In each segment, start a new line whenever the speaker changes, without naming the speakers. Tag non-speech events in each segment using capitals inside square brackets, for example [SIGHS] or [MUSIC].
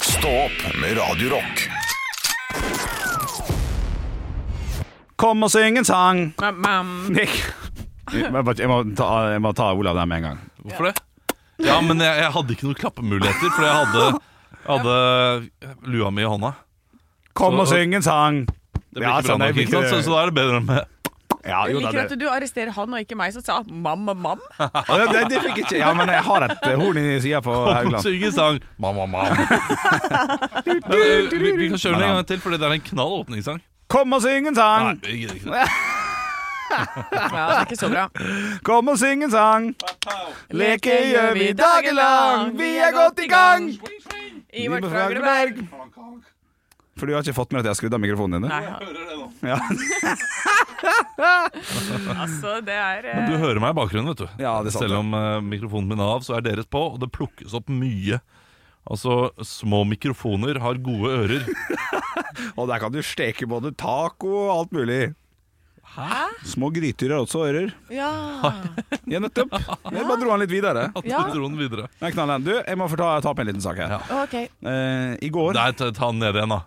Stå opp med Radio Rock.
Kom og syng en sang!
Mam, mam.
Nick. Jeg må, jeg må, ta, jeg må ta Olav der med en gang.
Hvorfor det? Ja, men jeg, jeg hadde ikke noen klappemuligheter, for jeg hadde, hadde lua mi i hånda.
Kom
Så-
og syng en sang!
Det blir
Ja,
ikke bra
sånn,
nok,
det
ikke sant?
blir
Så,
ikke-
så da er det bedre med
Ja,
Jeg
jo da,
liker at
det,
du arresterer han og ikke meg, som sa mam, mam.
Å, ja, det, det fikk jeg ikke Ja, men jeg har et eh, horn i sida på Haugland.
Synge sang Mamma, mamma
[LAUGHS]
eh, vi, vi kan kjøre den en gang til, for det er en knall åpningssang
Kom og syng en
Nei,
sang!
jeg gidder ikke det
Ja, det er ikke så bra.
Kom og syng en sang! Leke gjør vi dagen lang, vi er godt i gang!
I vårt Frognerberg.
For du har ikke fått med at jeg har skrudd av mikrofonen din?
Nei,
Ja.
altså, det er eh,
Du hører meg i bakgrunnen, vet du
Ja, det er sant,
Selv om eh, mikrofonen min er av, så er deres på Og det plukkes opp mye Altså, små mikrofoner har gode ører [LAUGHS]
Og der kan du steke både taco og alt mulig. Hæ? Små gryter har også ører.
Ja.
Ja, nettopp. Jeg bare dro han litt videre.
At
Ja.
du dro den videre
Nei, knallen. Du, jeg må få ta, ta opp en liten sak her.
Ja.
[LAUGHS]
OK.
Eh, I går
Nei, ta, ta den ned igjen da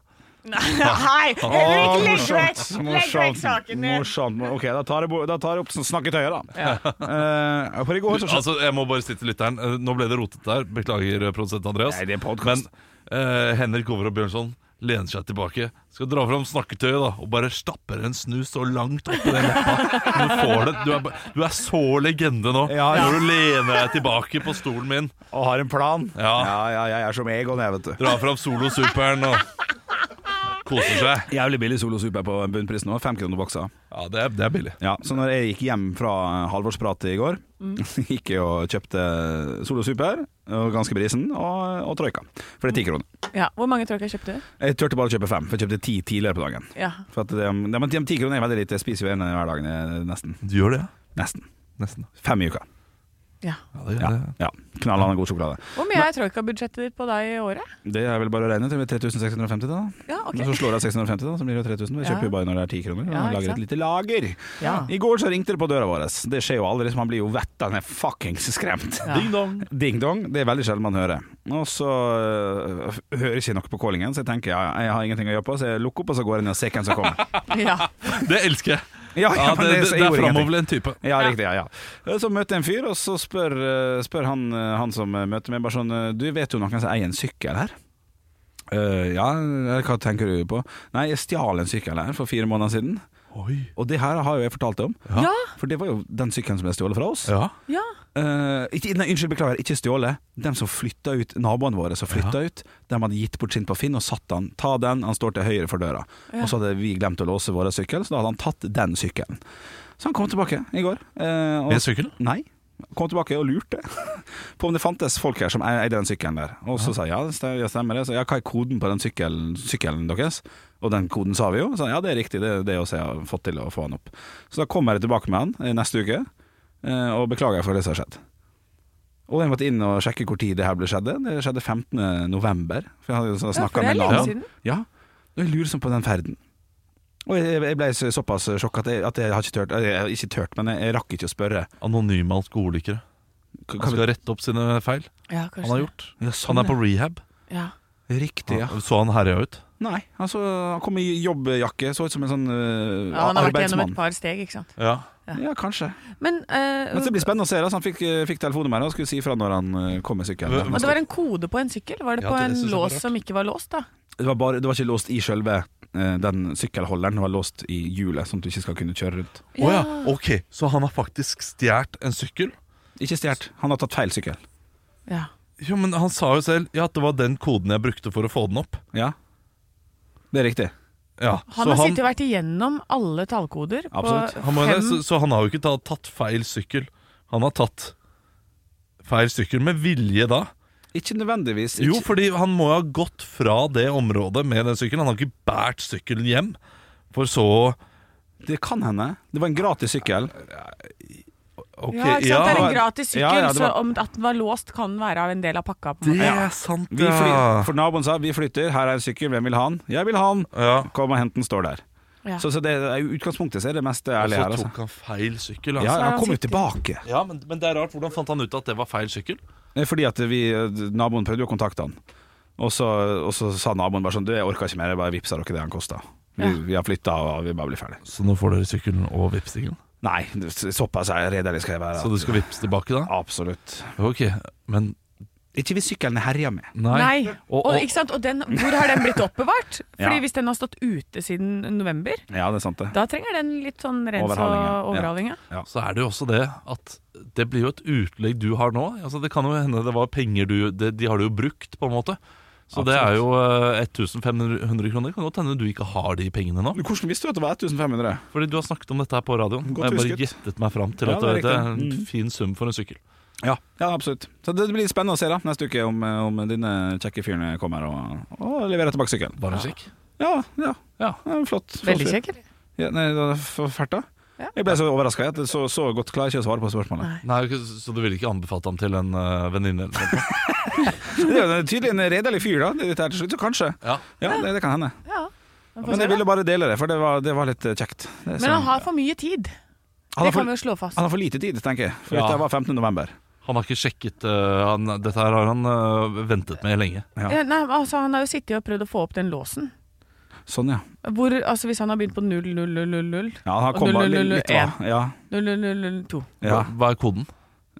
Nei,
Å,
Henrik, legg vekk!
morsomt,
Legg vekk
morsomt,
saken din.
Morsomt. Ok, da tar jeg, bo- da tar jeg opp sånn snakketøyet, da.
Ja.
Eh, for i går så
Altså, jeg må bare si til lytteren eh, Nå ble det rotet der, beklager eh, produsent Andreas
Nei, det er
Men
podkast.
eh, Henrik Over og Bjørnson lener seg tilbake, skal dra fram snakketøyet da, og bare stapper en snus så langt oppi den leppa. Du, får det. Du, er, ba- du er så legende nå,
Ja, ja.
når du lener deg tilbake på stolen min,
Og har en plan.
Ja.
ja, ja, jeg er som Egon, jeg, vet du.
drar fram Solo Superen og koser seg.
Jævlig billig Solo Super på bunnprisen nå. Fem kroner boksa.
Ja, det er, det er billig.
Ja, så når jeg gikk hjem fra halvårspratet i går,
Mm.
[LAUGHS] gikk jeg og kjøpte Solo Super, og ganske brisen, og, og Troika. For det er ti kroner.
Ja, Hvor mange tråkker kjøpte du?
Jeg turte bare å kjøpe fem, for jeg kjøpte ti tidligere på dagen.
Ja.
For at de, de, de ti kronene er veldig lite. Jeg spiser jo en hver dag, eh, nesten.
Du gjør det, ja?
Nesten.
Nesten.
Fem i uka.
ja.
Ja, det gjør
Ja.
det.
ja. Knallende god sjokolade.
Hvor mye er troika-budsjettet ditt på deg i året?
Det er vel bare å regne til med 3650, da.
Ja, OK.
Og Så slår jeg 650, da, så blir det jo 3000. Vi
Ja.
kjøper jo bare når det er 10 kroner.
Ja,
og
ikke
lager
sant? Ah.
et lite lager.
Ja.
I går så ringte det på døra vår. Det skjer jo aldri, så man blir jo vettende fuckings skremt.
Ja.
Ding dong.
Ding-dong, det er veldig sjelden man hører. Og så øh, hører jeg ikke noe på callingen, så jeg tenker ja, ja, jeg har ingenting å gjøre på, så jeg lukker opp og så går jeg ned og ser hvem som
[LAUGHS]
kommer.
Ja.
Det elsker jeg.
Ja,
Ja,
men
det, det,
så jeg
det er
gjorde ingenting.
framoverlent type.
Ja, riktig. ja, ja Så møter jeg en fyr, og så spør, eh, spør han, eh, han som eh, møter meg bare sånn eh, Du vet jo noen som eier en sykkel her? «Eh, ja, eh, hva tenker du på? Nei, jeg stjal en sykkel her for fire måneder siden.
Oi.
Og det her har jo jeg fortalt deg om,
Ja.
for det var jo den sykkelen som ble stjålet fra oss.
Ja.
ja.
Eh, ikke, nei, unnskyld, beklager, ikke stjålet. Dem som flytta ut, naboene våre som flytta ut, dem hadde gitt bort sin på Finn og satt han. Ta den, han står til høyre for døra. Og så hadde vi glemt å låse vår sykkel, så da hadde han tatt den sykkelen. Så han kom tilbake i går. eh, og
Med sykkel?
Nei. Kom tilbake og lurte [LAUGHS] på om det fantes folk her som eide den sykkelen der. Og så sa jeg ja, det stem- ja, stemmer det. Så ja, hva er koden på den sykkelen, sykkelen deres? Og den koden sa vi jo. Så ja, det er riktig, det er det også jeg har fått til å få han opp. Så da kommer jeg tilbake med han eh, neste uke eh, og beklager for det som har skjedd. Og jeg måtte inn og sjekke hvor tid det her ble skjedde. Det skjedde 15. november. For jeg hadde jo
Ja, for
snakka
det er
med
lenge
naboen.
siden.
Ja, og jeg lurer sånn på den ferden. Og jeg, jeg ble så- såpass sjokk at jeg, at jeg har ikke tørt, jeg, har ikke tørt men jeg, jeg rakk ikke å spørre.
Anonyme alkoholikere.
Hva- hva-
Han skal rette opp sine feil
Ja,
han har
kanskje.
gjort.
Sånn, Ja,
Han er på rehab.
Ja.
Riktig, ja.
Så han herja ut?
Nei, altså, han kom i jobbjakke, så ut som en sånn øh,
ja. Han har vært gjennom
arbeidsmann.
et par steg, ikke sant.
Ja.
Ja, kanskje.
Men, eh,
Men det blir spennende å se. da, så Han fikk, øh, fikk telefonnummeret og skulle si ifra når han øh, kom med
Hva-
sykkelen.
og det var en kode på en sykkel? Var det
Ja,
på
det
en
synes jeg var
lås
rart.
som ikke var låst, da?
Det var, bare, det var ikke låst i sjølve øh, den sykkelholderen, det var låst i hjulet, sånn at du ikke skal kunne kjøre rundt.
Å ja, ok. Så han har faktisk stjålet en sykkel?
Ikke stjålet, han har tatt feil sykkel.
Ja.
Jo, men Han sa jo selv ja, at det var den koden jeg brukte for å få den opp.
Ja, det er riktig.
Ja,
Han har sittet og vært igjennom alle tallkoder på
Absolutt.
han må jo det, så,
fem
så han har jo ikke tatt, tatt feil sykkel. Han har tatt feil sykkel med vilje da.
Ikke nødvendigvis. Ikke.
Jo, fordi han må jo ha gått fra det området med den sykkelen. Han har ikke båret sykkelen hjem. For så
det kan hende. Det var en gratis sykkel.
Ok,
ja, ikke sant? det er en gratis sykkel,
Ja, ja, det var-
så om at den var låst kan være av en del av pakka. På en
det
måte.
er sant,
Vi fly,
ja.
for naboen sa vi flytter, her er en sykkel, hvem vil ha den? Jeg vil ha den!
ja.
Kom og hent den, står der.
Ja.
Så, så det er jo utgangspunktet så er det mest
Og
ærlige
så
her, altså.
tok han feil sykkel.
Ja,
Altså.
han kom jo
sitter-
tilbake.
Ja, men, men det er rart. Hvordan fant han ut at det var feil sykkel?
Eh, Fordi at vi, eh, naboen prøvde jo å kontakte han. Og så, og så sa naboen bare sånn Du, jeg orker ikke mer, jeg bare vippser dere det han kosta. Vi, vi har flytta og vi bare blir ferdig.
Så nå får dere sykkelen og vippstingen?
Nei, såpass er jeg redelig skal jeg være.
Så du skal vippse tilbake, da?
Absolutt.
Ok, men
Ikke hvis sykkelen er herja med.
nei.
Nei. Og,
Og- og-
ikke sant? og den, hvor har den blitt oppbevart? Fordi
Ja.
hvis den har stått ute siden november,
Ja, det er sant, det.
da trenger den litt sånn rens og
Overhaling, ja.
overhaling. ja.
Så er det jo også det at det blir jo et utlegg du har nå. Altså Det kan jo hende det var penger du det, De har du jo brukt, på en måte. Så det er jo eh, 1500 kroner. Det kan godt hende du ikke har de pengene nå.
Hvordan visste du at det var 1500?
Fordi du har snakket om dette her på radioen.
Godt
og jeg bare
husket.
gjettet meg fram til
Ja,
at
det er
det, er
riktig. Mm.
en fin sum for en sykkel.
Ja, ja absolutt. Så det blir spennende å se da neste uke om, om denne kjekke fyren kommer og, og leverer tilbake sykkelen.
Var det kjekk?
Ja, ja.
Ja.
ja flott. flott
Veldig
fyr.
kjekk. eller?
Ja, nei, det var for fælt, da.
Ja.
Jeg ble så overraska. Så, så godt klarer jeg ikke å svare på
[LAUGHS]
spørsmålet.
Nei.
Nei, ok, Så du ville ikke anbefalt ham til en eh, venninne? [LAUGHS] eller noe?
Det er jo tydelig en redelig fyr, da. Dette her til slutt, så kanskje.
Ja.
Ja, det, det kan hende.
Ja. Man får
Men
se,
jeg
da.
ville bare dele det, for det var, det var litt kjekt. Det er
Men
sånn-
han har for mye
han
tid. Det
har
kan vi
for,
jo slå fast.
han har for lite tid, tenker jeg. For
Ja.
dette var 15. november.
Han har ikke sjekket eh, han, Dette her har han eh, ventet med lenge.
Ja.
Ja, nei, altså, han har jo sittet og prøvd å få opp den låsen.
Sånn, ja.
Hvor, altså, hvis han har begynt på 0000
Ja, han
Og
kom bare
0001.
litt, litt av. Ja,
0002
ja.
Hva, hva er koden?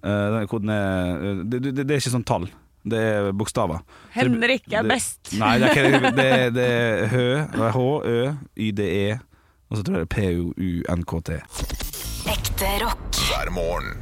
Eh, den koden er det, det, det er ikke sånn tall. Det er bokstaver.
Henrik er
Det-
best!
Nei, det er ikke det. Det- Det er Hø, H-Ø-Y-D-E, E, og så tror jeg det er P-U-N-K-T.
Ekte rock.
hver morgen.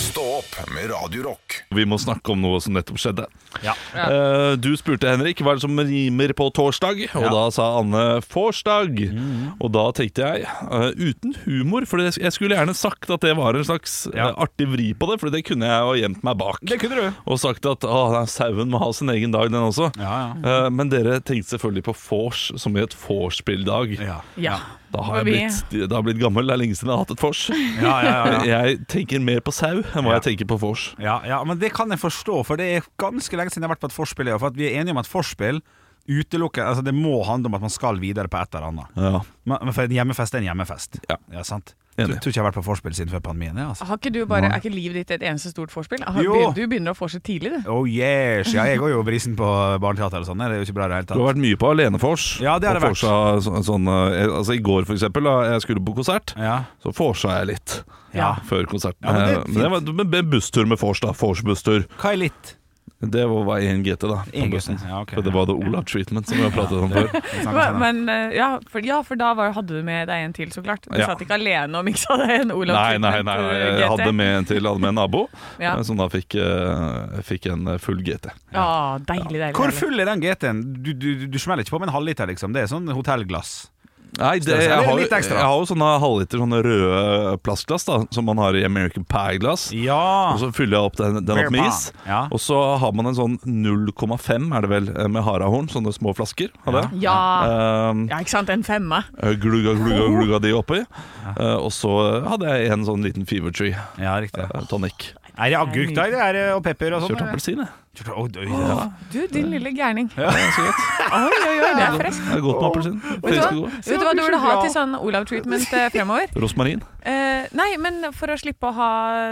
Stå opp med Radio Rock.
Vi må snakke om noe som nettopp skjedde. Eh, du spurte Henrik hva er det som rimer på torsdag, og da sa Anne 'forsdag'.
Mm.
Og da tenkte jeg, eh, uten humor, for det- jeg skulle gjerne sagt at det var en slags eh, artig vri på det, for det kunne jeg jo gjemt meg bak.
Det kunne du.
Og sagt at «Å, nei, sauen må ha sin egen dag, den også.
Ja, ja.
Eh, Men dere tenkte selvfølgelig på vors som i et vorspiel-dag.
Ja,
Ja.
Da har jeg
Vi-
blitt, da har jeg blitt gammel, det er lenge siden jeg har hatt et vors.
ja, ja. ja, ja.
[LAUGHS] Jeg tenker mer på sau enn hva
Ja.
jeg tenker på vors.
ja, ja men det kan jeg forstå, for det er ganske lenge siden jeg har vært på et forspill. ja, For at vi er enige om at forspill utelukker Altså, det må handle om at man skal videre på et eller annet.
Ja.
Men men for en hjemmefest er en hjemmefest.
Ja.
sant?
Enig.
Tror, tror ikke jeg har vært på forspill siden før pandemien. jeg, Altså.
Har ikke du bare, er ikke livet ditt et eneste stort vorspiel? Har-
Jo.
Du begynner å vorse tidlig, du.
Oh yes! Ja, jeg går jo brisen på barneteater og sånn. Det er jo ikke bra i det hele
Du
tatt.
har vært mye på alenefors.
Ja, det har
Og
det vært.
forsa så, sånn, eh, altså I går, for eksempel, da jeg skulle på konsert,
Ja.
så forsa jeg litt
Ja.
før konserten.
Ja, men det er
Eh, men det var men det er busstur med vors, da. Vors-busstur.
Hva er litt?
Det var var én GT, da. på
En
bussen.
gutten. Ja, ok.
For det var det Olav Treatment som vi har pratet om før.
Det er sant, det er
Hva-
sant.
Men, eh, ja, for, ja, for da var, hadde du med deg en til, så klart. Du
Ja.
satt ikke alene og miksa deg en [LAUGHS] Olav
Nei, nei,
Treatment,
nei, nei.
eh,
Jeg
GT.
hadde med en til, hadde med en nabo,
Ja.
eh, som da fikk, eh, fikk en eh, full GT.
Ja, deilig, deilig.
Hvor
deilig.
full er den GT-en? Du, du, du smeller ikke på med en halvliter, liksom. Det er sånn hotellglass.
Nei, det,
Størrelse.
jeg,
Eller
har, jo-
litt ekstra.
jeg har jo sånne halvliter sånne røde plastglass, da, som man har i American Pie-glass.
Ja!
Og så fyller jeg opp den, den opp med is.
Ja.
Og så har man en sånn 0,5 er det vel eh, med harahorn, sånne små flasker av det.
Ja.
Ehm, eh,
ja, ikke sant? En femme.
glugga, glugga, glugga de oppi. Eh, og så hadde jeg en sånn liten Fever Tree
ja, riktig.
eh, tonic.
Er det agurk da, eller er det og pepper og
Kjørte
sånn?
appelsin, jeg.
Kjørt Oi, oi, oi.
Du, din lille gærning.
Ja, så godt.
Oi, oi, oi, det er fresh.
Det er godt med appelsin.
Vet du
Frisk
hva,
og god.
vet du, hva du burde ha til sånn Olav Treatment eh, fremover?
Rosmarin.
Eh, nei, men for å slippe å ha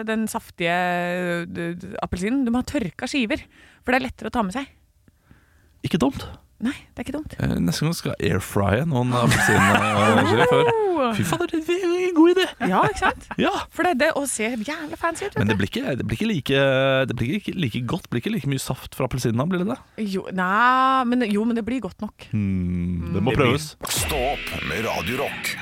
den saftige eh, d- d- appelsinen, du må ha tørka skiver. For det er lettere å ta med seg.
Ikke dumt.
Nei, det er ikke dumt.
Eh, neste gang skal jeg airfrye noen appelsinskiver før.
Oh.
Fy fader, det er en god idé!
Ja, ikke sant?
Ja!
For det, det å se jævla fancy ut,
Men
vet
det blir ikke, det blir ikke, like, det blir ikke like godt. Det blir ikke like mye saft fra appelsinen da, blir det det?
du. Jo, nei, men, jo, men det blir godt nok.
Hmm, det må
Det blir-
prøves.
Stå opp med Radio Rock.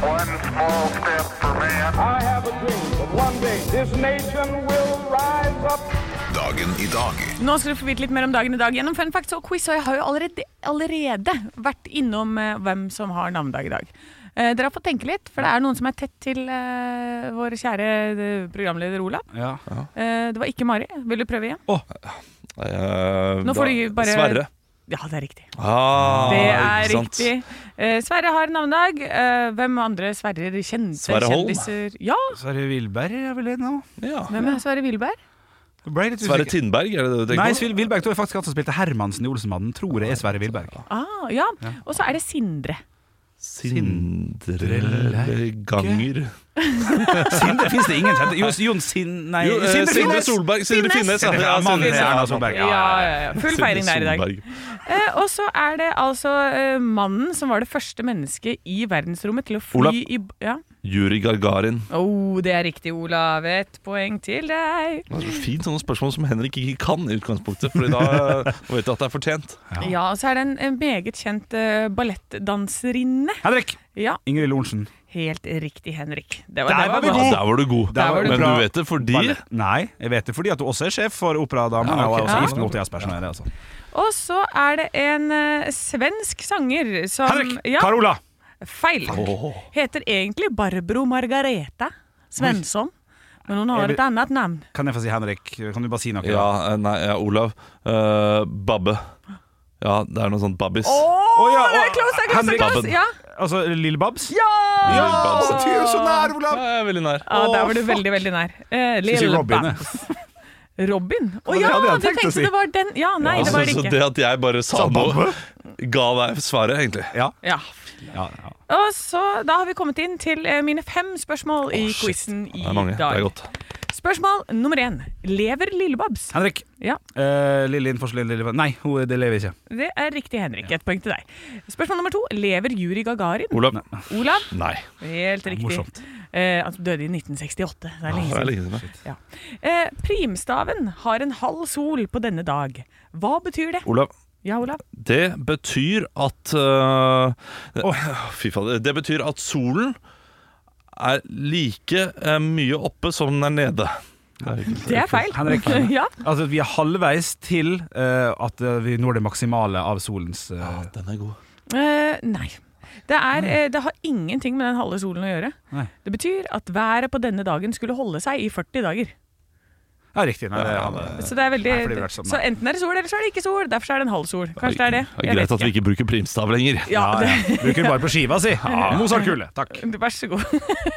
One small step for man.
I have a dream that one day this nation will rise up.
Dagen i dag.
Nå skal du få vite litt mer om dagen i dag gjennom fun facts og quiz. Og jeg har jo allerede, allerede vært innom eh, hvem som har navnedag i dag. Eh, dere har fått tenke litt, for det er noen som er tett til eh, vår kjære eh, programleder Olav.
Ja.
Eh, det var ikke Mari. Vil du prøve igjen?
Eh,
Nå får
da-
du bare-
Sverre.
Ja, det er riktig.
Ah,
Det er
ikke sant.
riktig. Eh, Sverre har navnedag. Eh, hvem andre Sverrer kjente
Sverre Holm.
kjendiser? Ja,
Sverre Wilberg er vel en nå?
Ja.
hvem er Sverre Wilberg?
Ble litt
Sverre
usikker.
Tindberg, er det det du
Nei,
tenker på?
Svil- Wilberg tror jeg faktisk han som spilte Hermansen i Olsenmannen, tror jeg er Sverre Wilberg.
Ah, ja. Og så er det Sindre.
Sindreleganger
Sinde fins det ingen kjente Jo, Jon Sin... Nei,
Jo, eh,
Sinde
Sindre
Finnes!
Solberg. Sindre
Finnes.
Finnes. ja.
Ja, mannen til Erna Solberg.
Solberg.
Ja, ja, ja. Full
Sindre
feiring der i dag.
Solberg.
Eh, og så er det altså eh, mannen som var det første mennesket i verdensrommet til å fly
Olav.
i b- ja.
Juri Gargarin.
oh, Det er riktig, Olav. Et poeng til deg.
Det er så fint sånne spørsmål som Henrik ikke kan i utgangspunktet, Fordi da eh, vet du at det er fortjent.
Ja, og så er det en, en meget kjent eh, ballettdanserinne.
Henrik!
Ja,
Ingrid Lorentzen.
helt riktig, Henrik. Det
Der
det
var vi
bra.
gode.
Der var du god.
Der var du
Men
bra.
du vet det fordi
Ballett. Nei, jeg vet det fordi at du også er sjef for Operadamen.
Ja, Um, ok.
Og er også
Ja.
gift med Otto Jespersen. er det Altså.
Og så er det en eh, svensk sanger som
Henrik!
Ja,
Carola!
feil. Heter egentlig Barbro Margareta Svensson. Men hun
Er
har
det-
et annet navn.
Kan jeg få si Henrik? Kan du bare si noe? da?
Ja, eh, nei, ja, Olav. Eh, babbe. Ja, det er noe sånt babbis.
Å,
Å, ja,
det
å,
er close, det er close, det
Henrik
er close!
Babben.
Ja.
Altså Lille Babs?
Ja!
Lille Babs.
Å, ty, du er så nær,
Ja,
Olav!
jeg er veldig nær.
Ja, der var du veldig, veldig nær. Eh,
Skal si
Lille
Robin, jeg.
Babs. [LAUGHS] Robin? Å
det
ja,
hadde jeg tenkt
du
å
tenkte
si.
det var den? Ja, nei, det var det
altså, så, så
ikke.
det at jeg bare sa noe, ga deg svaret, egentlig.
Ja.
Ja.
ja, ja.
Og så, da har vi kommet inn til eh, mine fem spørsmål i
shit.
quizen i
Det er mange. Det er
dag.
godt.
Spørsmål nummer én. Lever Lillebabs?
Henrik.
Ja,
Eh, lille innforsk, lille, lille Nei, hun, det lever ikke.
det er riktig, Henrik. Et poeng til deg. Spørsmål nummer to. Lever Juri Gagarin?
Olav?
Olav?
Nei.
Helt riktig.
morsomt.
Eh, altså, døde i 1968. Det er lenge
Det
siden.
er lenge siden. ja.
Ja. Eh, primstaven har en halv sol på denne dag. Hva betyr det?
Olav?
Ja, Olav?
Det betyr at øh, øh, [SIGHS] Fy faen. Det betyr at solen er like eh, mye oppe som den er nede.
Det er feil. [LAUGHS]
Henrik.
ja.
Altså, vi er halvveis til eh, at eh, vi når det maksimale av solens eh,
Den er god.
Eh, nei. Det, er, eh, det har ingenting med den halve solen å gjøre.
Nei.
Det betyr at været på denne dagen skulle holde seg i 40 dager.
Ja, riktig. Nei, det, eh, ja, det,
Så, det er veldig,
Nei, for det ville vært sånn, da.
så enten er det sol, eller så er det ikke sol. Derfor er det en halv sol. Kanskje det er det. Jeg vet
greit at vi ikke bruker primstav lenger.
Ja,
Ja,
det,
ja. Bruker den bare på skiva si. Ja, Mozart-kule. Takk.
Vær så god. [LAUGHS]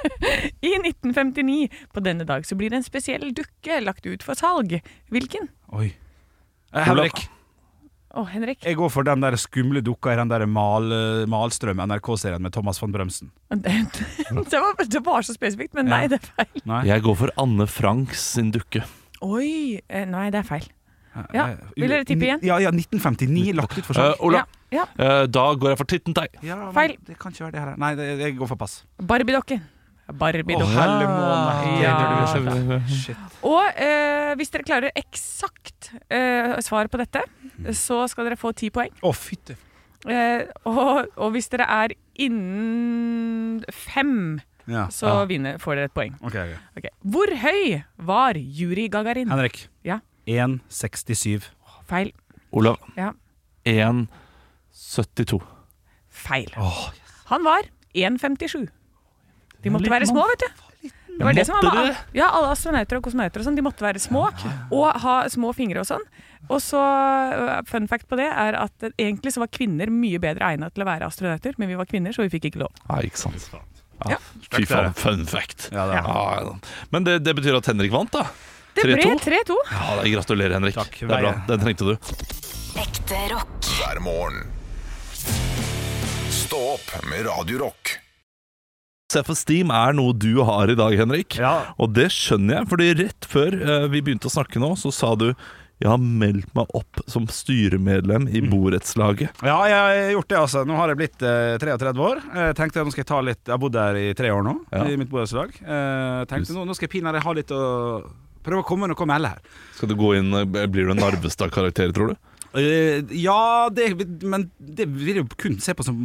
I 1959 på denne dag så blir en spesiell dukke lagt ut for salg. Hvilken?
Oi. Eh, Henrik,
Å,
[LAUGHS]
Henrik.
jeg går for den der skumle dukka i den der mal, eh, Malstrøm NRK-serien med Thomas von Brømsen.
Det var, det var så spesifikt, men nei, det er feil.
Nei.
Jeg går for Anne Franks sin dukke.
Oi. eh, Nei, det er feil. Ja,
Eh,
Vil dere tippe igjen?
Ja, ja, 1959 lagt ut for
Eh,
salg.
Ola,
Sånn. Ja, ja.
eh, da går jeg for Tittenteig.
Ja, men
feil.
Det kan ikke være det her. Nei, det, jeg går for pass.
Barbiedokke. Barbiedokke.
helle måne.
Ja.
Det er det du er. Shit.
Og eh, hvis dere klarer eksakt eh, svar på dette,
Mm.
så skal dere få ti poeng.
Å, fytte.
Eh, og, og hvis dere er innen fem,
Ja.
så vinner, får dere et poeng.
Ok, ok.
Ok. Hvor høy var Juri Gagarin?
Henrik.
Ja.
1,67.
Feil.
Olav.
Ja.
1,72.
Feil.
Åh,
Han var 1,57. De måtte være små, vet du. Det var
Ja,
det som var
måtte
med
det?
Ja, alle astronauter og kosmonauter og sånn, de måtte være små og ha små fingre og sånn. Og så øh, fun fact på det er at eh, egentlig så var kvinner mye bedre egna til å være astronauter, men vi var kvinner, så vi fikk ikke lov.
Nei, ikke sant.
Ja.
Ja. Fy faen, fun fact.
Ja, det er det.
Ja, ja. Men det, det betyr at Henrik vant, da.
Det ble
3-2.
3-2.
Ja, da, Gratulerer, Henrik.
Takk.
Det er bra. Den trengte du.
Ekte rock.
hver morgen. Stå opp med Radio Rock.
Self-esteem er noe du har i dag, Henrik.
Ja.
Og det skjønner jeg, fordi rett før eh, vi begynte å snakke nå, så sa du jeg har meldt meg opp som styremedlem i borettslaget.
Ja, jeg har gjort det, altså. Nå har jeg blitt eh, 33 år. Jeg tenkte nå skal jeg ta litt Jeg har bodd der i tre år nå,
Ja.
i mitt borettslag. Eh, tenkte nå, nå skal jeg pinadø ha litt å Prøve å komme noe melde her.
Skal du gå inn, eh, Blir du en Narvestad-karakter, tror du?
Eh, ja, det, men det vil jeg jo kun se på som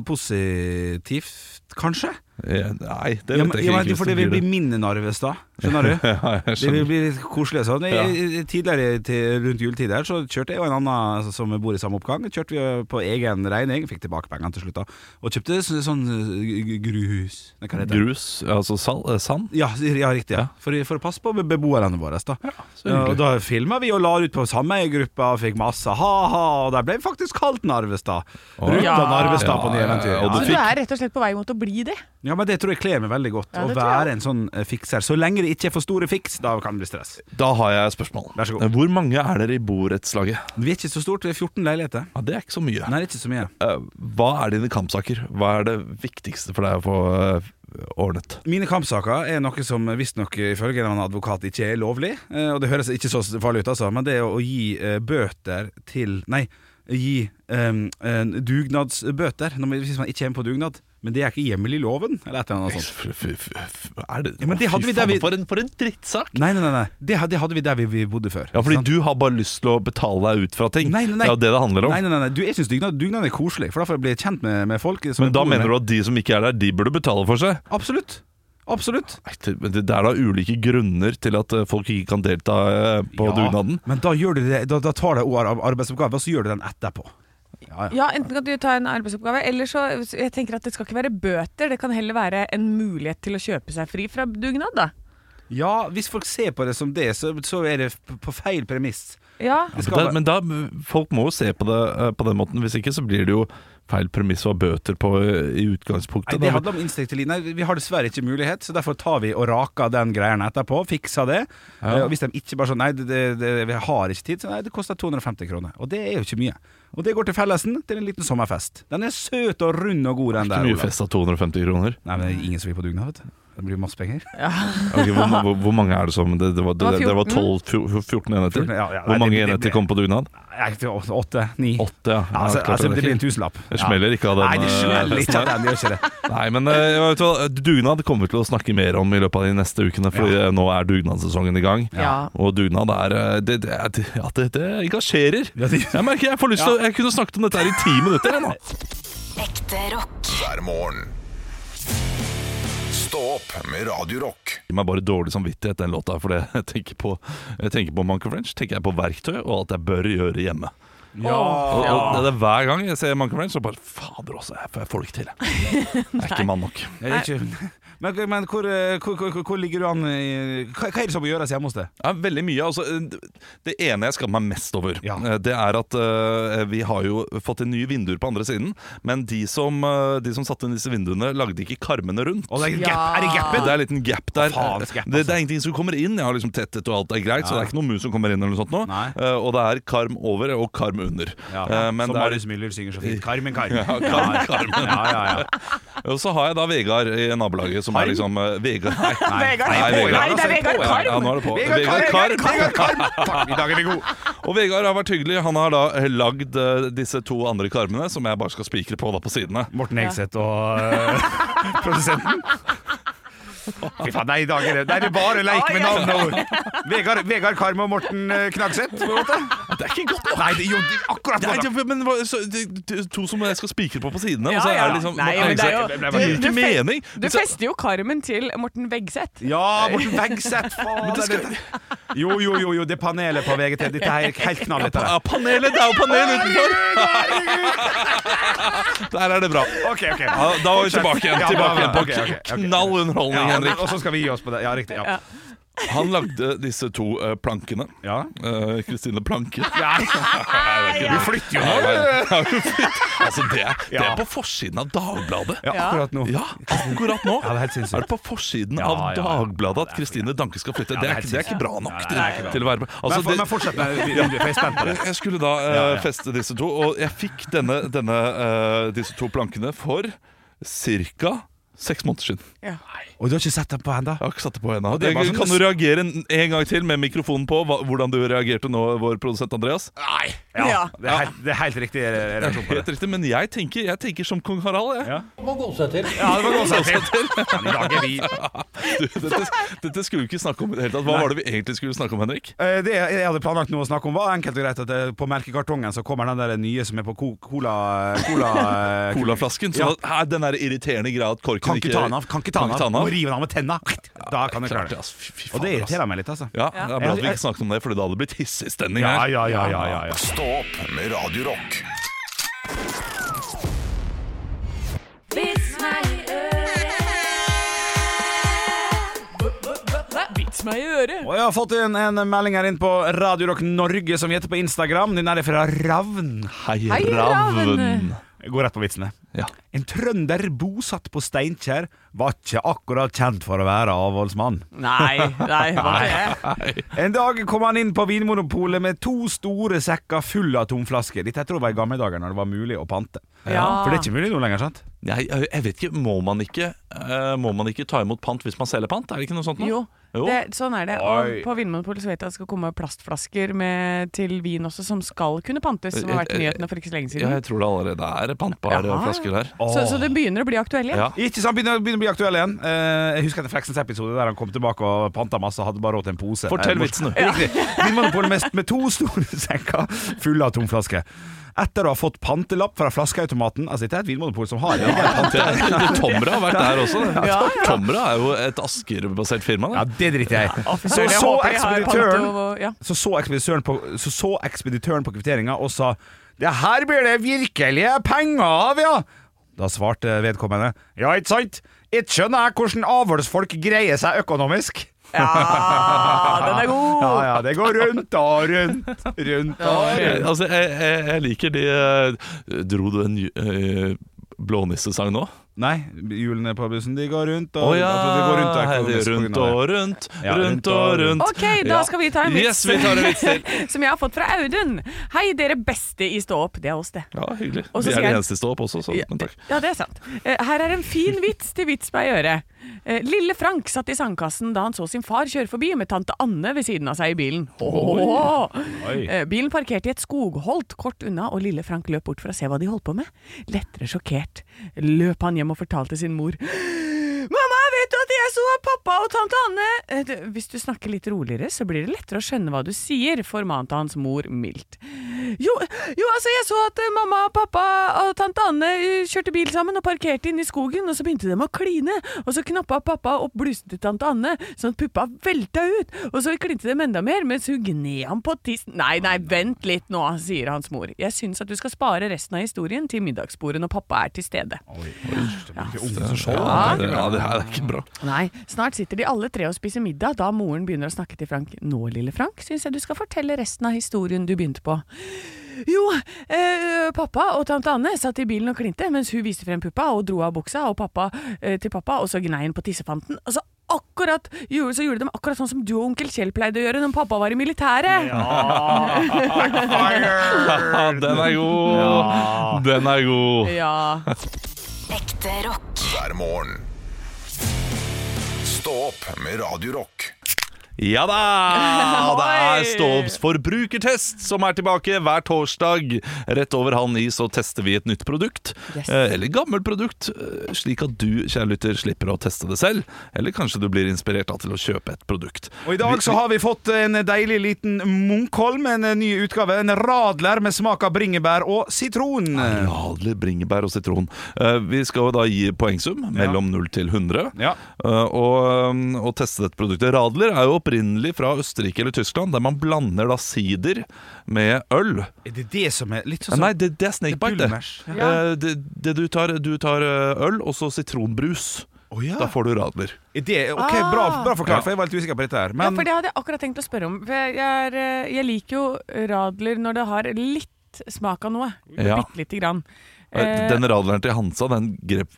positivt, kanskje.
Eh, Nei, det vet
Ja, men,
jeg ikke.
ja, men,
egentlig,
for
så
det vil bli
blir
min Narvestad, skjønner du?
[LAUGHS] Ja, jeg
Det vil
skjønner.
bli litt koselig og sånn. Jeg- jeg- Tidligere til, rundt juletid her så kjørte jeg og en annen altså, som bor i samme oppgang, kjørte vi jo på egen regning, fikk tilbake pengene til slutt da, og kjøpte så- sånn eh, grus Nei, hva heter det?
Grus, altså sal, eh, sand.
Ja, ja, riktig. Ja. For, for å passe på be- beboerne våre. Da,
så hyggelig.
og da filma vi og la ut på sameiergruppa og fikk masse ha-ha, og der ble vi faktisk kalt Narvestad. Ruta
Ja.
Narvestad på nye
Ja,
eventyr.
og
Ja,
du
Du
fikk-
er rett og slett på vei mot å bli det.
Ja, men Det tror jeg kler meg veldig godt.
Ja,
å
det tror jeg
være en sånn eh, fikser. Så lenge det ikke er for store fiks, da kan det bli stress.
Da har jeg et spørsmål.
Vær så god.
Eh, Hvor mange er dere i borettslaget?
Vi er ikke så stort, vi er 14 leiligheter.
Ja, det er ikke så mye.
Nei, det er ikke så mye.
Eh, Hva er dine kampsaker? Hva er det viktigste for deg å få eh, ordnet?
Mine kampsaker er noe som visstnok eh, ifølge en advokat ikke er lovlig. eh, Og det høres ikke så farlig ut, altså, men det er å gi eh, bøter til Nei, gi em, en dugnadsbøter når man, hvis man ikke kommer på dugnad. Men det er ikke hjemmel i loven, eller et eller annet sånt.
F- f- f- f- Er det,
Ja, men det hadde
Fy
vi der
faen,
vi-
for, en, for en drittsak!
Nei, nei, nei. nei. Det, ha- det hadde vi der vi, vi bodde før.
Ja, fordi
Sant?
du har bare lyst til å betale deg ut fra ting.
Nei, nei, nei.
Det er jo det det handler om.
Nei, nei, nei, nei. Du, jeg syns dugnad, dugnad er koselig, for da får jeg bli kjent med, med folk. som
Men
jeg
da
bor med.
mener du at de som ikke er der, de burde betale for seg?
Absolutt. Absolutt.
Nei, det- men Det det er da ulike grunner til at eh, folk ikke kan delta eh, på
Ja,
dugnaden.
Men da, gjør du det, da, da tar du arbeidsoppgaver, og så gjør du den etterpå. Ja, ja.
Ja, enten kan du ta en arbeidsoppgave, eller så Jeg tenker at det skal ikke være bøter, det kan heller være en mulighet til å kjøpe seg fri fra dugnad, da.
ja, hvis folk ser på det som det, så, så er det f- på feil premiss.
Ja.
Det
Men, da,
skal,
men da, folk må jo se på det eh, på den måten. Hvis ikke så blir det jo feil premiss og bøter på eh, i utgangspunktet.
nei, det handler om instinktiv Nei, Vi har dessverre ikke mulighet, så derfor tar vi og raker den greien etterpå. Fikser det. Eh, Og hvis de ikke bare sånn Nei, det, det, det, vi har ikke tid, så nei, det koster 250 kroner. Og det er jo ikke mye. Og det går til fellesen, til en liten sommerfest. Den er søt og rund og god, den
ikke
der.
mye
Olav.
fest av 250 kroner.
Nei, men det er ingen som vil på dugnad, vet du. Det blir masse penger.
Ok, hvor, hvor, hvor mange er det som Det, det, var, det,
var
det var
14.
12, fjo- 14 enheter.
14, ja, ja, nei,
hvor mange
det- det-
enheter kom på dugnad?
Nei, ikke Åtte? Ni?
Åtte, ja. ja
altså,
klart
altså,
er
det blir en
ikke-
tusenlapp.
Det smeller ikke av den.
Nei, det
eh,
smeller
festen
ikke av
her.
den, det gjør ikke
[LAUGHS]
det.
Nei, men eh, vet du hva, dugnad kommer vi til å snakke mer om i løpet av de neste ukene, Fordi eh, nå er dugnadssesongen i gang.
Ja.
Og dugnad er eh, Det, det, er- det- ja, det, det engasjerer.
Ja, det-
Jeg merker jeg får lyst til å Jeg kunne snakket om dette her i ti minutter. Jeg, nå.
Ekte rock.
hver morgen. Stå opp med Radio Rock.
Gi meg bare dårlig samvittighet, den låta. For jeg tenker på, jeg tenker på Monkey French, tenker jeg på verktøy og alt jeg bør gjøre hjemme. Og, og det er Hver gang jeg ser Monkey French, så bare Fader også, jeg, jeg får det ikke til. Jeg,
[LAUGHS]
jeg er ikke mann nok.
Ja, det er ikke. [LAUGHS] Men, men hvor, eh, hvor, hvor, hvor ligger du an i Hva, hva er det som må gjøres hjemme hos deg?
Ja, veldig mye. Altså, det ene jeg skammer meg mest over,
Ja.
eh, det er at eh, vi har jo fått inn nye vinduer på andre siden, men de som, eh, de som satte inn disse vinduene, lagde ikke karmene rundt.
Å, det er, gap, er det
Det
gapen?
er en liten gap der.
Å, faens gap, altså.
det, det er ingenting som kommer inn. Jeg har liksom tettet og alt er greit, så det er ikke noen mus som kommer inn. eller noe sånt nå
Nei.
Eh, Og det er karm over og karm under. Eh, men
Som
det er-
Marius Müller synger så fint. Carmen, Carmen.
Ja, Carmen, Carmen.
Ja, ja, ja.
liksom- Og så har jeg da Vegard i nabolaget, som er
Karm?
liksom eh, Vegard Nei,
Vegard, på, ja. Nei, det er Vegard Karm.
Ja, nå er det på.
Vegard Karm, Vegard Karm! Takk, i dag er vi gode.
Og Vegard har vært hyggelig. Han har da lagd eh, disse to andre karmene, som jeg bare skal spikre på da på sidene.
Morten Hegseth og eh, [LAUGHS] produsenten. Fy faen, nei, i dag er det, det er bare leik med navn og ord. Vegard, Vegard Karm og Morten eh, Knagseth. på en måte.
Det er ikke godt nok!
Nei, det, jo, det- akkurat
Nei,
på
det, men hva- så, de, de, to som jeg skal spikre på på sidene, og så
ja.
er det liksom
Nei, men det er jo-
det gir
du-
ikke
du fe-
mening!
Du
Hvis jeg-
fester jo karmen til Morten Vegseth.
Ja, Morten Vegseth, faen!
det skal-
Jo, jo, jo, jo, det er panelet på VGT. Dette her er helt knall, dette
ja,
her.
panelet! Det er jo panel utenfor! Der er det bra.
OK, OK.
Ja, da var vi tilbake igjen,
Ja, da-
tilbake igjen på
ok, ok, ok.
knall underholdning,
Ja, men-
Henrik.
og så skal vi gi oss på det. Ja, riktig. Ja.
Han lagde disse to eh, plankene.
ja.
Eh, Kristine Planke.
[LAUGHS] Du flytter jo nå.
Ja, hun flytt- altså det, er- det
Ja.
er på forsiden av Dagbladet.
Ja, akkurat nå.
Ja, akkurat nå
[LAUGHS] Ja, det er helt sinnssykt.
er det på forsiden
Ja,
av
ja, ja.
Dagbladet at Kristine Danke skal flytte.
Ja,
Det
det er
er,
helt
ikke- det er ikke
sinnssykt.
bra nok
Ja,
til,
det er ikke bra.
til å være med. Altså,
Men for-
det-
men fortsett med vinduet, for jeg er spent på det.
jeg skulle da
Ja,
eh,
ja.
feste disse to, og jeg fikk denne, denne, eh, disse to plankene for ca. seks måneder siden.
Og du har ikke sett den på ennå?
Jeg har ikke satt det på ennå.
det er bare
Jeg-
sånn-
Kan du reagere en, en gang til med mikrofonen på hva, hvordan du reagerte nå, vår produsent Andreas?
Ja.
Det er helt, det er helt riktig reaksjon på det.
Helt riktig, men jeg tenker, jeg tenker som kong Harald, jeg.
Ja. Ja, det var godt sett til. I dag er vi
Du, [LAUGHS] dette, dette skulle vi ikke snakke om i det hele tatt. Hva var det vi egentlig skulle snakke om, Henrik?
Eh, Det jeg hadde planlagt noe å snakke om, var enkelt og greit at eh, på melkekartongen så kommer den der nye som er på co- cola... cola eh,
Colaflasken. Så
Ja.
at, hæ, den der irriterende greia at korken
Kan ikke ta den av. Kan ikke ta den av. Må
av.
rive den av med tenna. Da kan jeg klare det.
ass. Fy- fy
Og det
fader, ass.
irriterer meg litt, altså.
Ja, det er bra at vi ikke snakket om det, Fordi da hadde det blitt hissig stemning
Ja,
her.
ja, ja, ja, ja, ja.
Stå opp med Radio Rock.
Vits meg i øret.
Og jeg har fått inn en melding her inn på Radio Rock Norge, som vi heter på Instagram. Den er fra Ravn.
Hei,
Hei,
ravn.
Ravn.
Jeg går rett på vitsene.
Ja.
En trønder bosatt på Steinkjer var ikke akkurat kjent for å være avholdsmann.
Nei, nei, hva er det?
En dag kom han inn på Vinmonopolet med to store sekker full av tomflasker. Dette jeg tror var i gamle dager når det var mulig å pante.
Ja.
For det er ikke mulig nå lenger, sant?
Jeg, jeg, jeg vet ikke, må man ikke eh, Må man ikke ta imot pant hvis man selger pant? Er det ikke noe sånt nå?
Jo,
Jo.
det, sånn er det. Og
Oi.
på Vinmonopolet så vet jeg at det skal komme plastflasker med, til vin også, som skal kunne pantes, som har vært i nyhetene for ikke så lenge
Eh, Ja,
siden.
jeg tror det allerede er pantbare
Jaha.
flasker der.
Så, så det begynner å bli aktuelt igjen.
Ja.
Ikke sant, begynner, begynner å bli aktuell igjen. Eh, jeg husker etter Fleksens episode der han kom tilbake og panta masse og hadde bare råd til en pose.
Fortell
Eh,
vitsen, du.
[LAUGHS] Riktig. Vinmonopolet mest med to store [LAUGHS] sekker fulle av tomflasker. Etter å ha fått pantelapp fra flaskeautomaten Altså, dette er et vinmonopol som har det.
Det, det, [LAUGHS] Tomra har vært der også. det.
Ja, ja.
Tomra er jo et Asker-basert firma.
Ja,
Det.
det driter jeg i.
fy
Så
søren, jeg
så
håper de har
ekspeditøren
panto og- ja.
Så så ekspeditøren på, så så ekspeditøren på kvitteringa og sa Det her blir det virkelige penger av, ja! Da svarte vedkommende Ja, ikke sant? Ikke skjønner jeg hvordan avholdsfolk greier seg økonomisk.
Ja, den er god!
Ja, ja, det går rundt og rundt, rundt og
Jeg,
rundt.
altså, jeg, jeg, jeg liker de eh, Dro du en eh, blånissesang nå?
Nei, hjulene på bussen, de går rundt og
Å ja!
altså, de går rundt, og
hei, de
økonomisk på grunn
rundt
av
og
det.
rundt,
Ja,
rundt og rundt.
Ok, da
Ja.
skal vi ta en vits.
Yes, vi tar en vits til.
[LAUGHS] som jeg har fått fra Audun. Hei, dere beste i stå opp. Det er oss, det.
[LAUGHS] Ja, hyggelig.
Og så
Vi
skal
er de
jeg-
eneste i stå opp også, så men takk.
Ja, det er sant. Eh, Her er en fin vits til vits meg i øret. Eh, Lille Frank satt i sandkassen da han så sin far kjøre forbi med tante Anne ved siden av seg i bilen. Åh! Eh, Bilen parkerte i et skogholt kort unna, og lille Frank løp bort for å se hva de holdt på med. Lettere sjokkert løp han hjem og fortalte sin mor. Mamma, vet du at jeg så pappa og tante Anne? Eh, det- Hvis du snakker litt roligere, så blir det lettere å skjønne hva du sier, formante hans mor mildt. Jo, jo, altså, jeg så at eh, mamma, pappa og tante Anne eh, kjørte bil sammen og parkerte inne i skogen, og så begynte de å kline, og så knappa pappa opp blusen til tante Anne, sånn at puppa velta ut, og så klinte dem enda mer, mens hun gned ham på tissen. Nei, nei, vent litt nå, sier hans mor. Jeg syns at du skal spare resten av historien til middagsbordet når pappa er til stede.
Ja, det, ja, det her er ikke bra.
Nei, snart sitter de alle tre og spiser middag da moren begynner å snakke til Frank. Nå, lille Frank, syns jeg du skal fortelle resten av historien du begynte på. Jo, eh, pappa og tante Anne satt i bilen og klinte mens hun viste frem puppa og dro av buksa og pappa, eh, til pappa, og så gnei hun på tissefanten. Og så akkurat gjorde, så gjorde de akkurat sånn som du og onkel Kjell pleide å gjøre når pappa var i militæret.
Ja, [LAUGHS] den er god! Den er god.
Ja.
Ekte rock.
hver morgen. Stå opp med Radio Rock.
Ja da! Det er Ståbs forbrukertest som er tilbake hver torsdag. Rett over halv ni så tester vi et nytt produkt,
Yes.
eh, eller gammelt produkt, eh, slik at du, kjære lytter, slipper å teste det selv. Eller kanskje du blir inspirert da til å kjøpe et produkt.
Og i dag så har vi fått en deilig liten Munkholm, en ny utgave. En radler med smak av bringebær og sitron.
Radler, bringebær og sitron. Eh, Vi skal jo da gi poengsum mellom 0 til 100.
Ja.
Eh, Og, um, og teste dette produktet. Radler er jo opprinnelig fra Østerrike eller Tyskland, der man blander da sider med øl.
Er det det som er litt sånn
Nei, det, det er snakebite. Det,
Gullmers, ja.
Eh, det, det du, tar, du tar eh, øl og så sitronbrus.
Å ja.
Da får Ah. du radler.
Er det, ok, bra, bra forklart, for jeg var litt usikker på dette her.
ja,
Men
for det hadde jeg akkurat tenkt å spørre om. For jeg, er, eh, jeg liker jo radler når det har litt smak av noe.
Ja.
Bitte lite grann.
Eh, Den radleren til Hansa, den grep,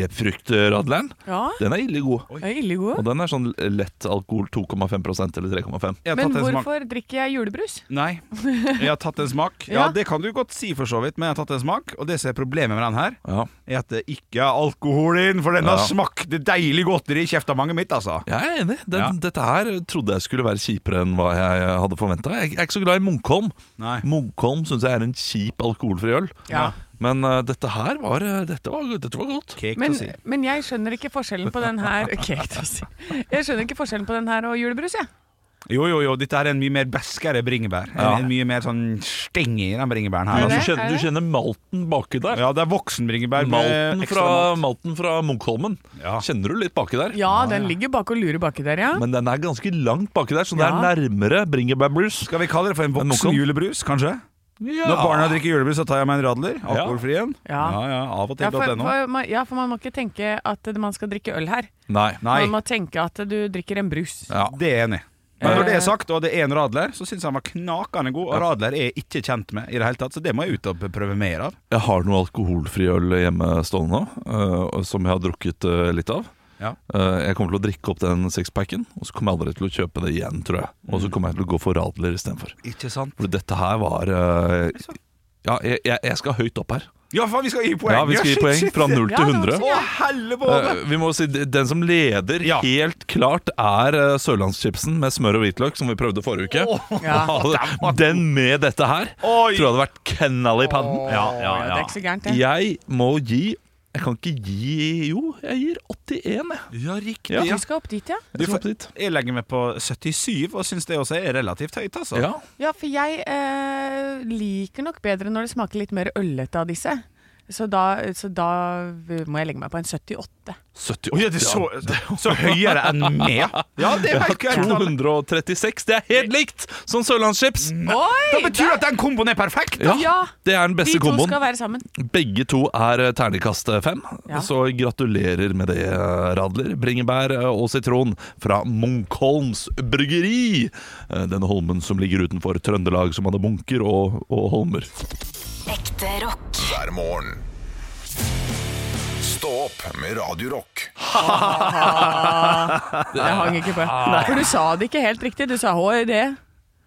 grepfruktradleren,
Eh, Ja,
den er ille god.
er ille
Og
gode.
den er sånn lett alkohol 2,5 eller 3,5.
jeg har
Men
tatt en smak.
hvorfor drikker jeg julebrus?
Nei, jeg har tatt en
[LAUGHS]
smak. Ja,
Ja.
det kan du godt si for så vidt, men jeg har tatt en smak. Og det som er problemet med den her,
Ja.
er at det ikke er alkohol i den, for den har
Ja.
smakt deilig godteri i kjeftamanget mitt, altså.
Jeg er enig. Den,
Ja.
Dette her trodde jeg skulle være kjipere enn hva jeg hadde forventa. Jeg, jeg er ikke så glad i Munkholm.
Nei.
Munkholm syns jeg er en kjip alkoholfri øl.
Ja.
Men eh, dette her var, eh, dette var, dette var godt.
Cake
Men,
to si.
men jeg skjønner ikke forskjellen på den her Cake til å si. Jeg skjønner ikke forskjellen på den her og julebrus, jeg.
Jo, jo, jo, dette er en mye mer beskere bringebær.
Ja.
En, en mye mer sånn steng i den bringebæren her.
Ja, du,
Altså.
det?
kjenner,
Er
du kjenner malten baki der.
Ja, det er voksen bringebær. med
Malten
ekstra
fra,
malt.
malten fra Munkholmen.
Ja.
Kjenner du litt baki der?
Ja, den ligger bak og lurer baki der, ja.
Men den er ganske langt baki der, så
Ja.
det er nærmere bringebærbrus.
Skal vi kalle det for en
Men
voksen
Munkholm?
julebrus, kanskje?
Ja.
Når barna drikker julebrus, så tar jeg meg en radler. Alkoholfri en. Ja.
Ja.
ja, Av og
Ja for,
til.no.
for, man- ja, for man må ikke tenke at man skal drikke øl her.
Nei.
Nei,
Man må tenke at du drikker en brus.
Ja.
det er jeg enig i. Men når det
Eh.
er sagt, og det er en radler, så syns jeg han var knakende god. Og radler er jeg ikke kjent med i det hele tatt, så det må jeg ut og prøve mer av.
Jeg har noe alkoholfri øl hjemmestående nå, eh, som jeg har drukket eh, litt av.
Ja.
Eh, jeg kommer til å drikke opp den sixpacken, og så kommer jeg aldri til å kjøpe det igjen, tror jeg. Og
Mm.
så kommer jeg til å gå for Radler istedenfor.
Ikke sant?
For dette her var eh, Ja, jeg, jeg jeg skal høyt opp her.
Ja, faen, vi skal gi poeng!
Ja, vi skal gi
shit,
poeng
shit,
fra
shit.
0
Ja,
til
det var
100.
så
Å, hellebåle!
Eh, vi må si d- Den som leder
Ja.
helt klart, er eh, sørlandschipsen med smør og hvitløk, som vi prøvde forrige uke. [LAUGHS]
Ja.
Den med dette her
Oi.
Eh, tror jeg hadde vært knall i padden.
Ja, Det er ikke så gærent, det.
Jeg må gi Jeg kan ikke gi Jo, jeg gir 81, jeg.
Ja, riktig.
Ja.
Du skal opp dit, ja?
Jeg skal opp dit.
Jeg legger meg på 77 og syns det også er relativt høyt, altså.
Ja.
Ja, for jeg eh, liker nok bedre når det smaker litt mer øllete av disse. Så da, så da må jeg legge meg på en 78.
78.
Oi, er det så, så høyere enn
[LAUGHS]
meg? Ja, det er helt greit. da.
236. Det er helt likt som Sørlandschips!
Mm. Oi!
Det betyr at den komboen er perfekt!
Ja,
Ja.
Det er den
De
beste
to
komboen.
skal være sammen.
Begge to er eh, terningkast fem.
Ja.
Så gratulerer med det, eh, Radler. Bringebær eh, og sitron fra Munkholms bryggeri. Eh, Denne holmen som ligger utenfor Trøndelag, som hadde munker og, og holmer.
Ekte rock.
hver morgen. Stå opp med Radio Rock.
Jeg hang ikke på.
Ah.
For du sa det ikke helt riktig. Du sa HID.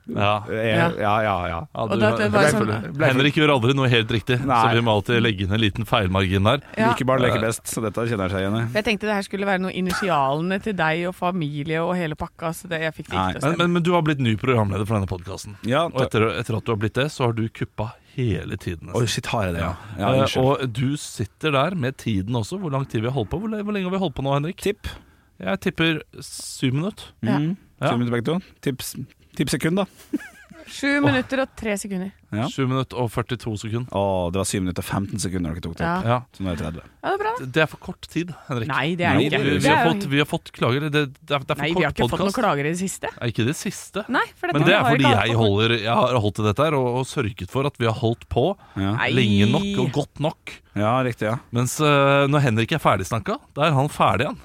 Ja.
Eh,
eh,
Ja, ja, ja. ja.
Og da- det var sånn-
Henrik gjør aldri noe helt riktig, så
Nei.
vi må alltid legge inn en liten feilmargin der.
Ja.
Like barn leker best, så dette kjenner jeg seg igjen i.
Jeg tenkte det her skulle være noe initialene til deg og familie og hele pakka. Så det, jeg fikk det
Nei,
ikke til å
Men,
stemme.
men, men du har blitt ny programleder for denne podkasten.
Ja,
Og etter, etter at du har blitt det, så har du kuppa hele tiden. nesten.
Oi, shit, har jeg det, ja. ja
Eh,
unnskyld.
og du sitter der med tiden også. Hvor lang tid vi har holdt på? Hvor, le- hvor lenge har vi holdt på nå, Henrik? Tipp. Jeg tipper syv minutter.
Ja.
Mm.
Ja.
Syv minutter begge to. Tips, tips sekund, da.
Sju minutter og tre sekunder.
Ja.
Sju minutter og 42 sekunder.
Å, det var syv minutter og 15 sekunder når dere tok det
Ja.
opp.
Ja.
Så nå er det 30.
Ja, det er bra, da.
Det er for kort tid, Henrik.
Nei, det er det ikke.
Vi, vi,
Det er
har
jo-
fått, vi har fått klager. Det, det er, det er for
Nei, vi har
kort
ikke fått noen
podkast.
klager i det siste.
Er ikke det siste?
Nei, for dette
Men det er
har
fordi
ikke alle
jeg,
fått-
holder, jeg har holdt til dette her og, og sørget for at vi har holdt på
Ja.
Nei.
lenge nok og godt nok.
ja, riktig, ja.
Mens eh, når Henrik er ferdigsnakka, da er han ferdig igjen.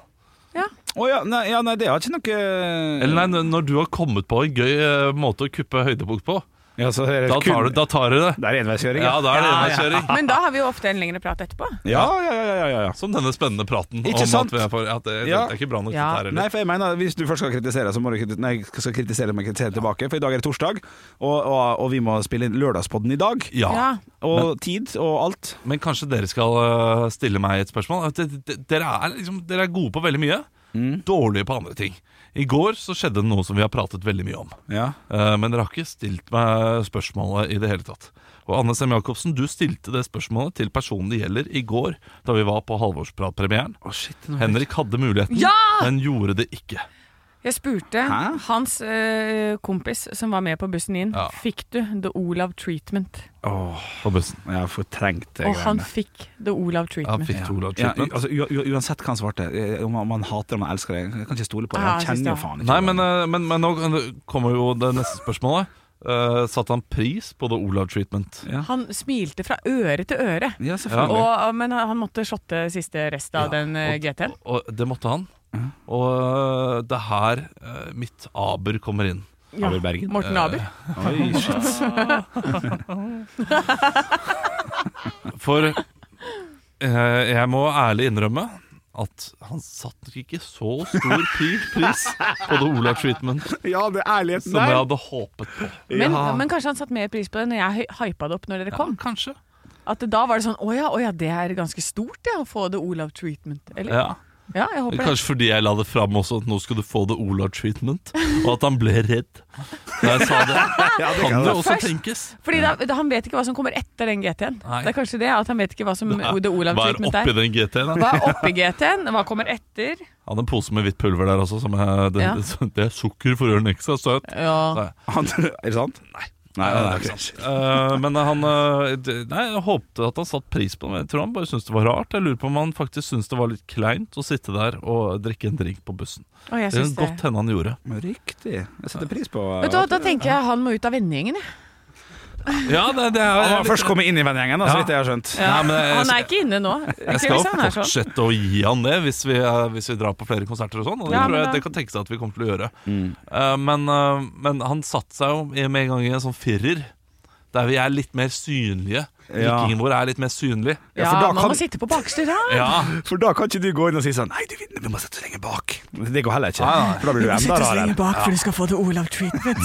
Å ja, nei, ja, nei, det har ikke noe eh,
Eller nei, når du har kommet på en gøy eh, måte å kuppe høydepunkt på,
ja, så er det,
da tar du, da tar du det.
Det er enveiskjøring,
Ja,
ja.
da er det enveiskjøring.
Men da har vi jo ofte en lengre prat etterpå.
Ja, ja, ja, ja, ja, ja.
Som denne spennende praten
Ikke
om
sant?
at vi er for at det,
Ja.
det er ikke bra nok
Ja.
dette her
Nei,
heller.
for jeg mener Hvis du først skal kritisere, så må du kritisere, nei, skal kritisere, men kritisere tilbake. For i dag er det torsdag, og, og, og vi må spille inn lørdagspodden i dag.
Ja.
Ja.
Og tid og alt.
Men kanskje dere skal øh, stille meg et spørsmål. D- d- Dere er, liksom, dere er gode på veldig mye,
Mm.
dårlige på andre ting. I går så skjedde det noe som vi har pratet veldig mye om.
Ja.
Eh, Men dere har ikke stilt meg spørsmålet i det hele tatt. Og Anne Sem Jacobsen, du stilte det spørsmålet til personen det gjelder i går, da vi var på halvårspratpremieren. Henrik hadde muligheten,
Ja!
men gjorde det ikke.
Jeg spurte
Hæ?
hans eh, kompis som var med på bussen inn,
Ja.
fikk du The Olav Treatment?
På bussen.
Jeg har fortrengt det.
Og han
greiene.
fikk The Olav
Han
Treatment.
fikk to Olav
ja,
Treatment.
altså, u- u- Uansett hva han svarte, eh, om han- om han hater eller om han elsker det, jeg kan ikke stole på det.
Ja,
Han
jeg synes
kjenner
det.
jo faen ikke
Nei,
det.
men, eh, men, men nå kommer jo det neste spørsmålet. Eh, satte han pris på The Olav Treatment?
Ja.
Han smilte fra øre til øre.
Ja, selvfølgelig.
Og, men han måtte shotte siste rest av den uh, GT-en.
Og det måtte han. Og eh, det er her eh, mitt aber kommer inn.
Ja.
Abel Bergen.
Morten
Eh,
Aber.
Oi, shit.
For eh, jeg må ærlig innrømme at han satte nok ikke så stor pri- pris på The Olav Treatment
Ja, det er ærligheten
som jeg hadde håpet på.
Men, men kanskje han satte mer pris på det når jeg hy- hypa det opp når dere kom.
Kanskje.
At da var det sånn Å ja, å ja, det er ganske stort det, å få The Olav Treatment. Eller?
Ja.
Ja, jeg håper det.
Kanskje fordi jeg la det fram også, at nå skal du få The Olav Treatment, og at han ble redd da jeg sa det. Kan det også
Først-
tenkes.
Fordi da, da, han vet ikke hva som kommer etter den GT-en.
Nei.
Det er kanskje det, at han vet ikke hva som The Olav
Hva er
Treatment er.
oppi den GT-en? da?
Hva er oppi GT-en? Hva kommer etter?
Han hadde en pose med hvitt pulver der også. Som er, det,
Ja.
det er sukker for å gjøre den ekstra søt.
Ja.
Han, er det sant? Nei. Nei, nei,
Eh,
ok.
eh, men han eh, d- Nei, jeg håpte at han satte pris på det. men Jeg tror han bare syntes det var rart. Jeg lurer på om han faktisk syntes det var litt kleint å sitte der og drikke en drink på bussen.
Og jeg
Det kan
syns det.
godt hende han gjorde.
Men Riktig. Jeg setter pris på
Vet du hva, Da tenker jeg han må ut av vennegjengen, jeg.
Ja, det, det er
Han var
litt-
først kommet inn i vennegjengen, da, så
Ja.
vidt jeg har skjønt.
Nei, men jeg-
Han er ikke inne nå.
Jeg
Ikke
skal
hvis han er sånn.
fortsette å gi han det hvis vi, eh, hvis vi drar på flere konserter og sånn. Og det
Ja,
tror
men
jeg
da-
det kan tenkes at vi kommer til å gjøre. Eh, men, eh, men han satte seg jo i- med en gang i en sånn firer, der vi er litt mer synlige.
Ja.
Vikingen vår er litt mer synlig.
Ja,
Ja,
for da
man
kan-
må sitte på bakste rad.
Ja,
For da kan ikke du gå inn og si sånn Nei, du vinner, vi må sette oss lenger bak. Det går heller ikke.
Nei, nei.
For da blir du enda rarere.
bak for du skal få
[LAUGHS]
det Olav-treatment.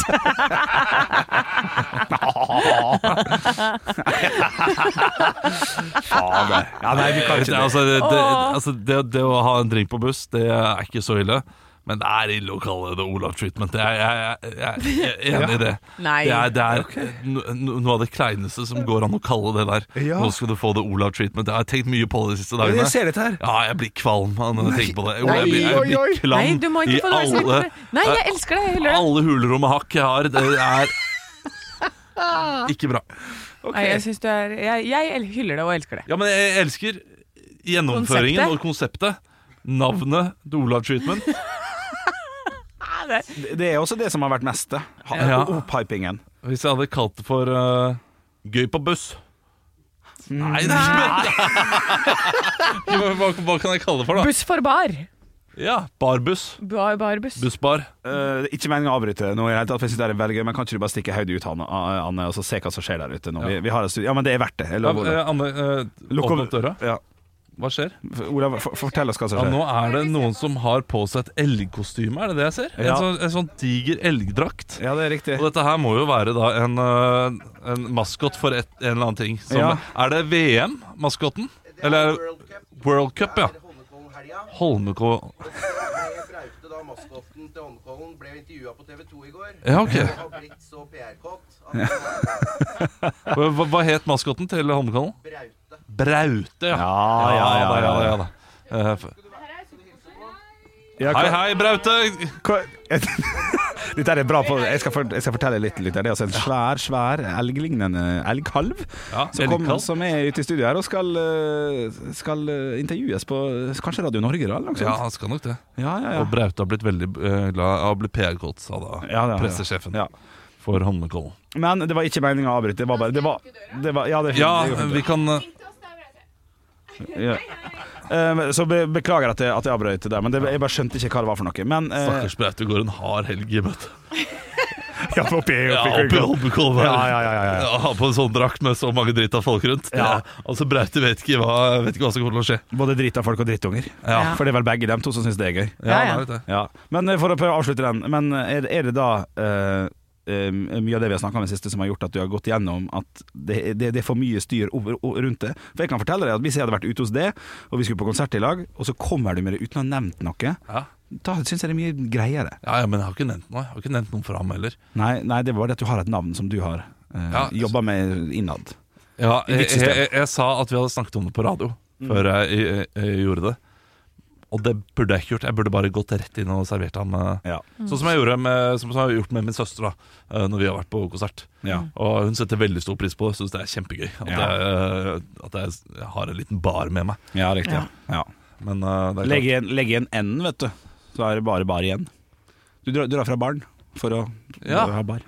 Fader. Ja, nei, vi kan
det,
ikke det.
altså, det, det,
Åh.
altså, det, det å ha en drink på buss, det er ikke så ille. Men det er ille å kalle det Olav treatment. Det er, jeg, jeg, jeg, jeg er enig i det.
Nei.
Det er, det er no, no- noe av det kleineste som går an å kalle det der.
Ja.
Nå skal du få det Olav treatment. Jeg har tenkt mye på det de siste dagene.
Jeg ser dette her.
Ja, jeg blir kvalm av når jeg tenker på det. Jo, jeg
Nei,
blir, jeg
oi, oi.
blir klam
Nei, du må ikke
i
få det.
alle,
Nei, jeg elsker deg. Jeg hyller deg.
alle hulrom og hakk jeg har. Det er
[LAUGHS]
ikke bra.
Nei, jeg, synes du er, jeg, jeg hyller deg og elsker deg.
Ja, men jeg elsker gjennomføringen og konseptet. Navnet The Olav Treatment.
Det- Det er også det som har vært mest, det. Ha-
Ja.
Opphypingen.
Hvis jeg hadde kalt det for eh, Gøy på buss. Nei, det er ikke [LAUGHS] hva, hva, hva kan jeg kalle det for, da?
Buss for bar.
Ja, Barbuss.
Bar, bar buss.
Bussbar.
Eh, ikke meningen å avbryte noe i det hele tatt, for jeg synes det er veldig gøy, men kan ikke du bare stikke hodet ut, Anne, Anne, og så se hva som skjer der ute nå? Vi, vi har et studie. Ja, men det er verdt det. Jeg
Ja,
lover.
eh, Anne, eh,
Lukk
åpne opp
opp-
døra.
Ja.
Hva skjer?
For- Olav, for, fortell oss hva som
Ja,
skjer.
nå er det noen som har på seg et elgkostyme, er det det jeg ser?
Ja.
En, sånn, en sånn diger elgdrakt.
Ja, det er riktig.
Og dette her må jo være da en, eh, en maskot for et, en eller annen ting. Som,
Ja.
Er det VM-maskoten? Eller er det World Cup, ja. Holmenkollen
Braute, da maskotten til Holmenkollen, ble intervjua på TV 2 i går.
Ja, ok.
Og har blitt så PR-kåt at han er
Hva, hva- hva het maskoten til Holmenkollen?
Braute.
Braute, ja.
Ja, ja, ja,
da,
ja,
ja, da. Eh, f-
Ja, hva-
hei, hei, Braute!
Hva- [LAUGHS] Dette er bra på Jeg skal, for, jeg skal fortelle litt, litt. Det er altså en svær, svær elglignende elgkalv
Ja,
som, kom,
elgkalv.
som er ute i studio her og skal, eh, skal eh, intervjues på eh, kanskje Radio Norge, da? Eller noe
Ja,
sånt.
han skal nok det.
Ja, ja, ja.
Og Braute har blitt veldig eh, glad av å bli PR-kåt, sa da
Ja, ja, ja.
pressesjefen
Ja.
for Holmenkollen.
Men det var ikke meninga å avbryte. Det var bare det var, det var, Ja, det er fint.
Ja,
Det går fint.
vi kan eh,
Ja. Eh, Så be, beklager at jeg, at jeg avbrøt det der, men det, jeg bare skjønte ikke hva det var for noe. Men eh,
Stakkars Braute går en hard helg i møte.
[LAUGHS] ja, oppi,
Ja,
oppi,
oppi Holmenkollen her.
Ja, ja, ja, ja, ja.
Ja, Ha på en sånn drakt med så mange drita folk rundt. Det
Ja.
er- Altså, Braute vet ikke, hva, vet ikke hva som kommer til å skje.
Både drita folk og drittunger.
Ja.
For det er vel begge dem to som syns det er gøy.
Ja, ja.
det er det.
Ja. Men eh, for å prøve å avslutte den Men er, er det da eh, eh, mye av det vi har snakka om i det siste som har gjort at du har gått gjennom at det, det, det er for mye styr over, o- rundt det? For jeg kan fortelle deg at hvis jeg hadde vært ute hos deg, og vi skulle på konsert i lag, og så kommer du med det uten å ha nevnt noe,
Ja.
da syns jeg det er mye greiere.
Ja, ja, men jeg har ikke nevnt noe. Jeg har ikke nevnt noe for ham heller.
Nei, nei det er bare det at du har et navn som du har eh,
Ja.
jobba med innad.
Ja,
I
jeg,
ditt
jeg,
system.
jeg, jeg sa at vi hadde snakket om det på radio før jeg, jeg, jeg gjorde det. Og det burde jeg ikke gjort. Jeg burde bare gått rett inn og servert ham. eh,
Ja.
Sånn som jeg gjorde med, som som jeg har gjort med min søster da eh, når vi har vært på konsert.
Ja.
Mm.
Og hun setter veldig stor pris på det. Syns det er kjempegøy at,
Ja.
jeg, eh, at jeg s- jeg har en liten bar med meg.
ja, riktig. Ja.
Men eh, det er
Legg
klart.
igjen, legg igjen N-en, vet du. Så er det bare bar igjen. Du drar, drar fra baren for å
Ja.
ha bar.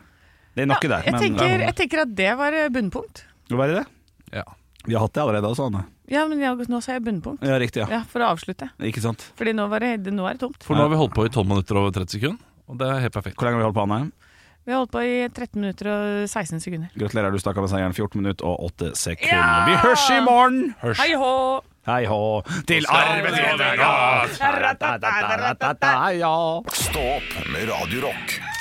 Det er noe
Ja,
der.
jeg,
Men,
tenker, jeg tenker at det var eh, bunnpunkt.
Skal være det?
Ja.
Vi har hatt det allerede, altså, Anne.
Ja, men jeg, nå sa jeg bunnpunkt.
Ja, riktig. Ja.
Ja, For å avslutte.
Ikke sant?
Fordi nå, var det, nå er det tomt.
For nå har vi holdt på i 12 minutter og 30 sekunder, og det er helt perfekt.
Hvor lenge har vi holdt på, Anne?
Vi har holdt på i 13 minutter og 16 sekunder.
Gratulerer, du stakk av med seieren. 14 minutter og 8 sekunder. Vi hørs i morgen!
Hei hå!
Hei hå, til arbeidsgiveren! Ja.
Stå opp med Radio Rock.